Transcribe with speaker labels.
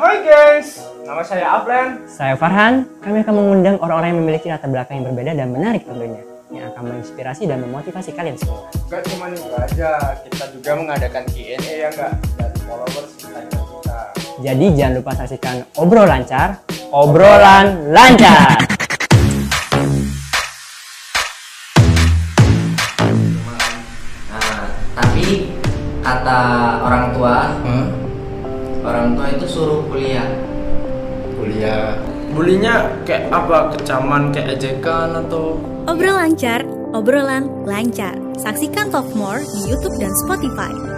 Speaker 1: Hai guys, nama saya Aplen.
Speaker 2: Saya Farhan, kami akan mengundang orang-orang yang memiliki latar belakang yang berbeda dan menarik tentunya yang akan menginspirasi dan memotivasi kalian semua.
Speaker 1: Gak cuma itu aja, kita juga mengadakan Q&A ya nggak dari followers Instagram kita.
Speaker 2: Jadi jangan lupa saksikan obrol lancar, obrolan lancar.
Speaker 3: Nah, tapi kata orang tua, orang tua itu suruh kuliah.
Speaker 1: Kuliah. Bulinya kayak apa? Kecaman, kayak ejekan atau
Speaker 4: Obrol lancar, obrolan lancar. Saksikan Talk More di YouTube dan Spotify.